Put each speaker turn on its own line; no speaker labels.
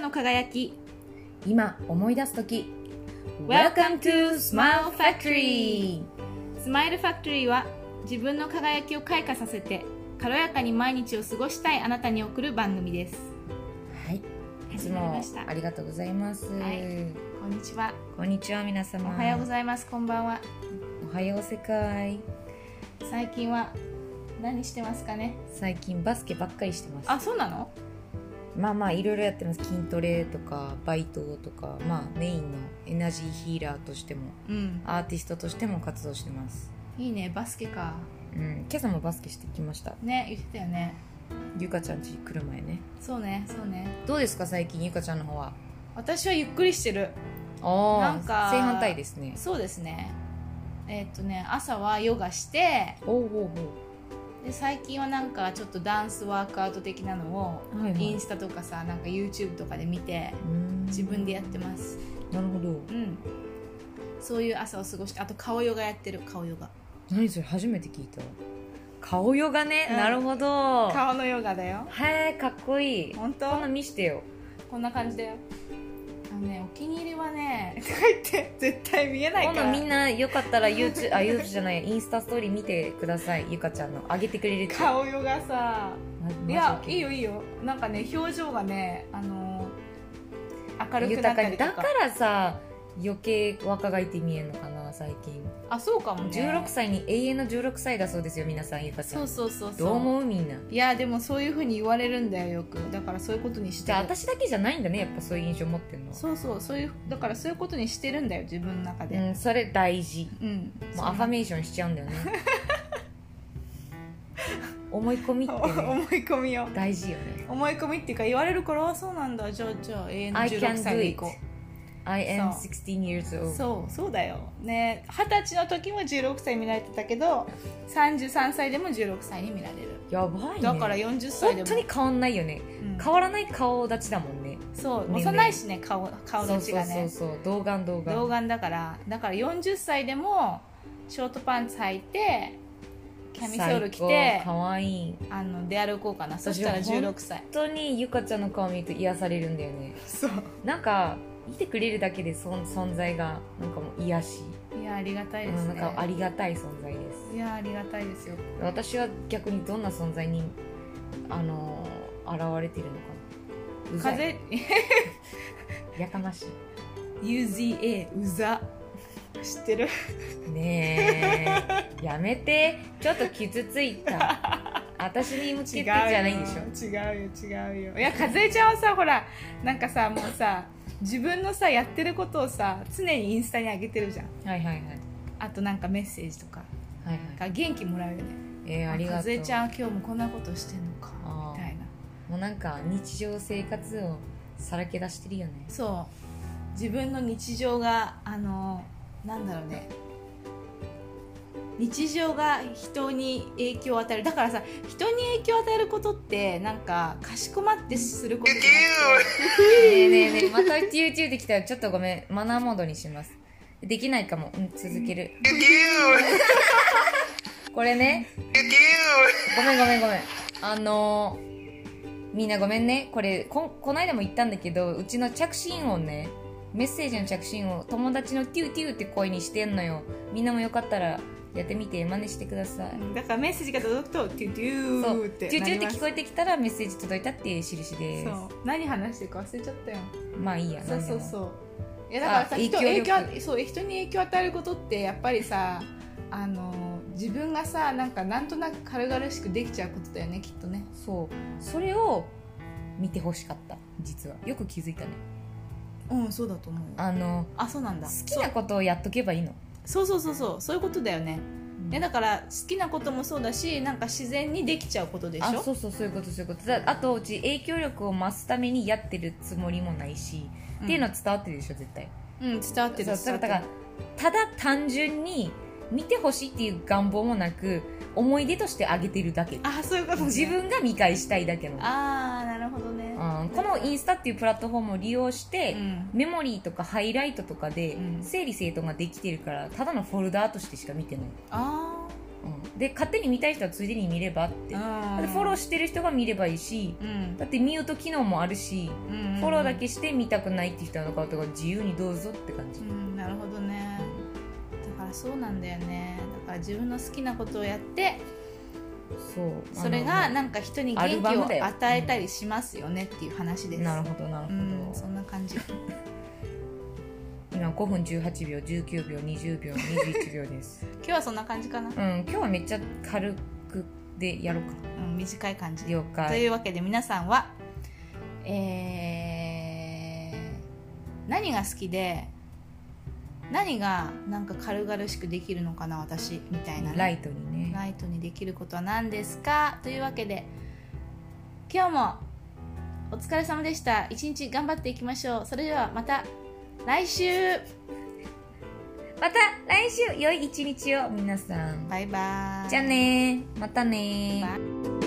の輝き
今思い出す時
Welcome to Smile Factory スマイルファクトリーは自分の輝きを開花させて軽やかに毎日を過ごしたいあなたに送る番組です
はいいつ
始まり
も
ました
ありがとうございます、
はいこんにちは
こんにちは皆様
おはようございますこんばんは
おはよう世界
最近は何してますかね
最近バスケばっかりしてます
あそうなの
まあまあいろいろやってます筋トレとかバイトとかまあメインのエナジーヒーラーとしても
うん
アーティストとしても活動してます
いいねバスケか
うん今朝もバスケしてきました
ね言ってたよね
ゆかちゃん家来る前ね
そうねそうね
どうですか最近ゆかちゃんの方は
私はゆっくりしてる
あ
なんか
正反対ですね
そうですねえーっとね朝はヨガして
おうおう
で最近はなんかちょっとダンスワークアウト的なのを
おうはいはい
インスタとかさなんか YouTube とかで見て
うーん
自分でやってます
なるほど
うんそういう朝を過ごしてあと顔ヨガやってる顔ヨガ
何それ初めて聞いた顔ヨガね、
うん
なるほどは
顔のヨガだよ
いかっこいい
本当
こんな見してよ
こんな感じだよあのねお気に入りはねとか言って絶対見えない
今
か
度
ら
みんなよかったら YouTube あ YouTube じゃないインスタストーリー見てくださいゆかちゃんの上げてくれるって
顔ヨガさ
マジ
いや
マジ
いいよいいよなんかね表情がねあのー明るくなっ
豊
た
か
り
に
と
だ
か
からさ余計若返って見えるのかな最近
あそうかもね
16歳に永遠の16歳だそうですよ皆さんゆかちゃ
そ
ん
うそうそうそう
どう思うみんない
やでもそういうふうに言われるんだよよくだからそういうことにし
じ
て
ゃあ
る
私だけじゃないんだねやっぱそういう印象持ってるのは
そうそうそういうだからそういうことにしてるんだよ自分の中
う
で
んそれ大事
うん、
もうアファメーションしちゃうんだよね思い込みって、ね、
思い込みを
大事よね
思い込みっていうか言われるからあそうなんだじゃあじゃあ永遠の
I can
16
do
歳でい
it
こ
I am
そう
16 years
う
old
そうそうだよね二十歳の時も16歳見られてたけど33歳でも16歳に見られる
やばいね
だから40歳で
本
も
当に変わんないよね
うん
変わらない顔立ちだもんね
そう
年齢
幼いしね顔顔立ちがね
そうそうそうそう童顔童顔
童顔だからだから40歳でもショートパンツ履いてキャミソール着て
かわいい
あの出歩こうかなそしたら
私は
16歳
本当にゆかちゃんの顔見ると癒されるんだよね
そう
なんか見てくれるだけでそん存在がなんかもう癒し、
いやありがたいで
う
す
ん
ね
なんかありがたい存在です
いやありがたいですよ
私は逆にどんな存在にあのー現れているのかなうざい
風
やかまし
UZA うざ知ってる
いね えやめてちょっと傷ついた私に向けて
違う
じゃないでしょ
よ違うよ違うよいや風ちゃんはさほらなんかさもうさ自分のさやってることをさ常にインスタに上げてるじゃん
はいはいはい
あとなんかメッセージとか
はいはい
が元気もらうよね
えー、ありがとう
かずえちゃん今日もこんなことしてんのか
あー
みたいな
もうなんか日常生活をさらけ出してるよね
そう自分の日常があのなんだろうね日常が人に影響を与えるだからさ人に影響を与えることってなんかかしこまってすることじゃな
ねえねえねえまた YouTube できたらちょっとごめんマナーモードにしますできないかも、うん、続けるこれねごめんごめんごめんあのーみんなごめんねこれこんこないだも言ったんだけどうちの着信音ねメッセージの着信音友達のティューティューって声にしてんのよみんなもよかったらやってみて真似してください
くてうんだからメッセージが届くと「デュデュ
そ
ー」
う
っ
チ
て
ューチューって
なります
聞こえてきたらメッセージ届いたっていう印です
そう何話してるか忘れちゃったよ
まあいいや
そうそう
う
そういやだからさ
あ
人
影
影
響
響
力
そう人に影響を与えることってやっぱりさあの自分がさなんかなんとなく軽々しくできちゃうことだよねきっとね
そうそれを見てほしかった実はよく気づいたね
うんそうだと思うあ
あの
そうなん
好
だ
きなことをやっとけばいいの
そうそうそうそうそういうことだよね、ねだから好きなこともそうだしなんか自然にできちゃうことでしょ
あそうそうそういうことそういうことだあとうち影響力を増すためにやってるつもりもないし、
うん
っていうのは伝わってるでしょ絶対
うん伝わってる
そう
伝わ
だ
ってる
からただ単純に見てほしいっていう願望もなく思い出としてあげてるだけ
あそういうこと、ね、
自分が見返したいだけの、
ああなるほどね
うん、このインスタっていうプラットフォームを利用して、
うん
メモリーとかハイライトとかで
うん
整理整頓ができてるからただのフォルダーとしてしか見てない、
あ
で勝手に見たい人はついでに見ればってだってフォローしてる人が見ればいいし
うん
だってミュート機能もあるし
うん
フォローだけして見たくないって人の顔とか自由にどうぞって感じ
うんなるほどねだからそうなんだよねだから自分の好きなことをやって
そう
それがなんか人に
ア
元
ル
気
バ
を
ムだよ
与えたりしますよねっていう話です
なるほどなるほど、
うんそんな感じ
今5分18秒19秒20秒21秒です
今日はそんな感じかな、
うん今日はめっちゃ軽くでやろうか
うん、短い感じ
了
と
解
いうわけで皆さんは、えー何が好きで何がなんか軽々しくできるのかな私みたいなね、
ライトにね
ライトにできることは何ですかというわけで今日もお疲れ様でした一日頑張っていきましょうそれではまた来週
また来週良い一日を皆さん
バイバイ
じゃあねーまたねー
バイ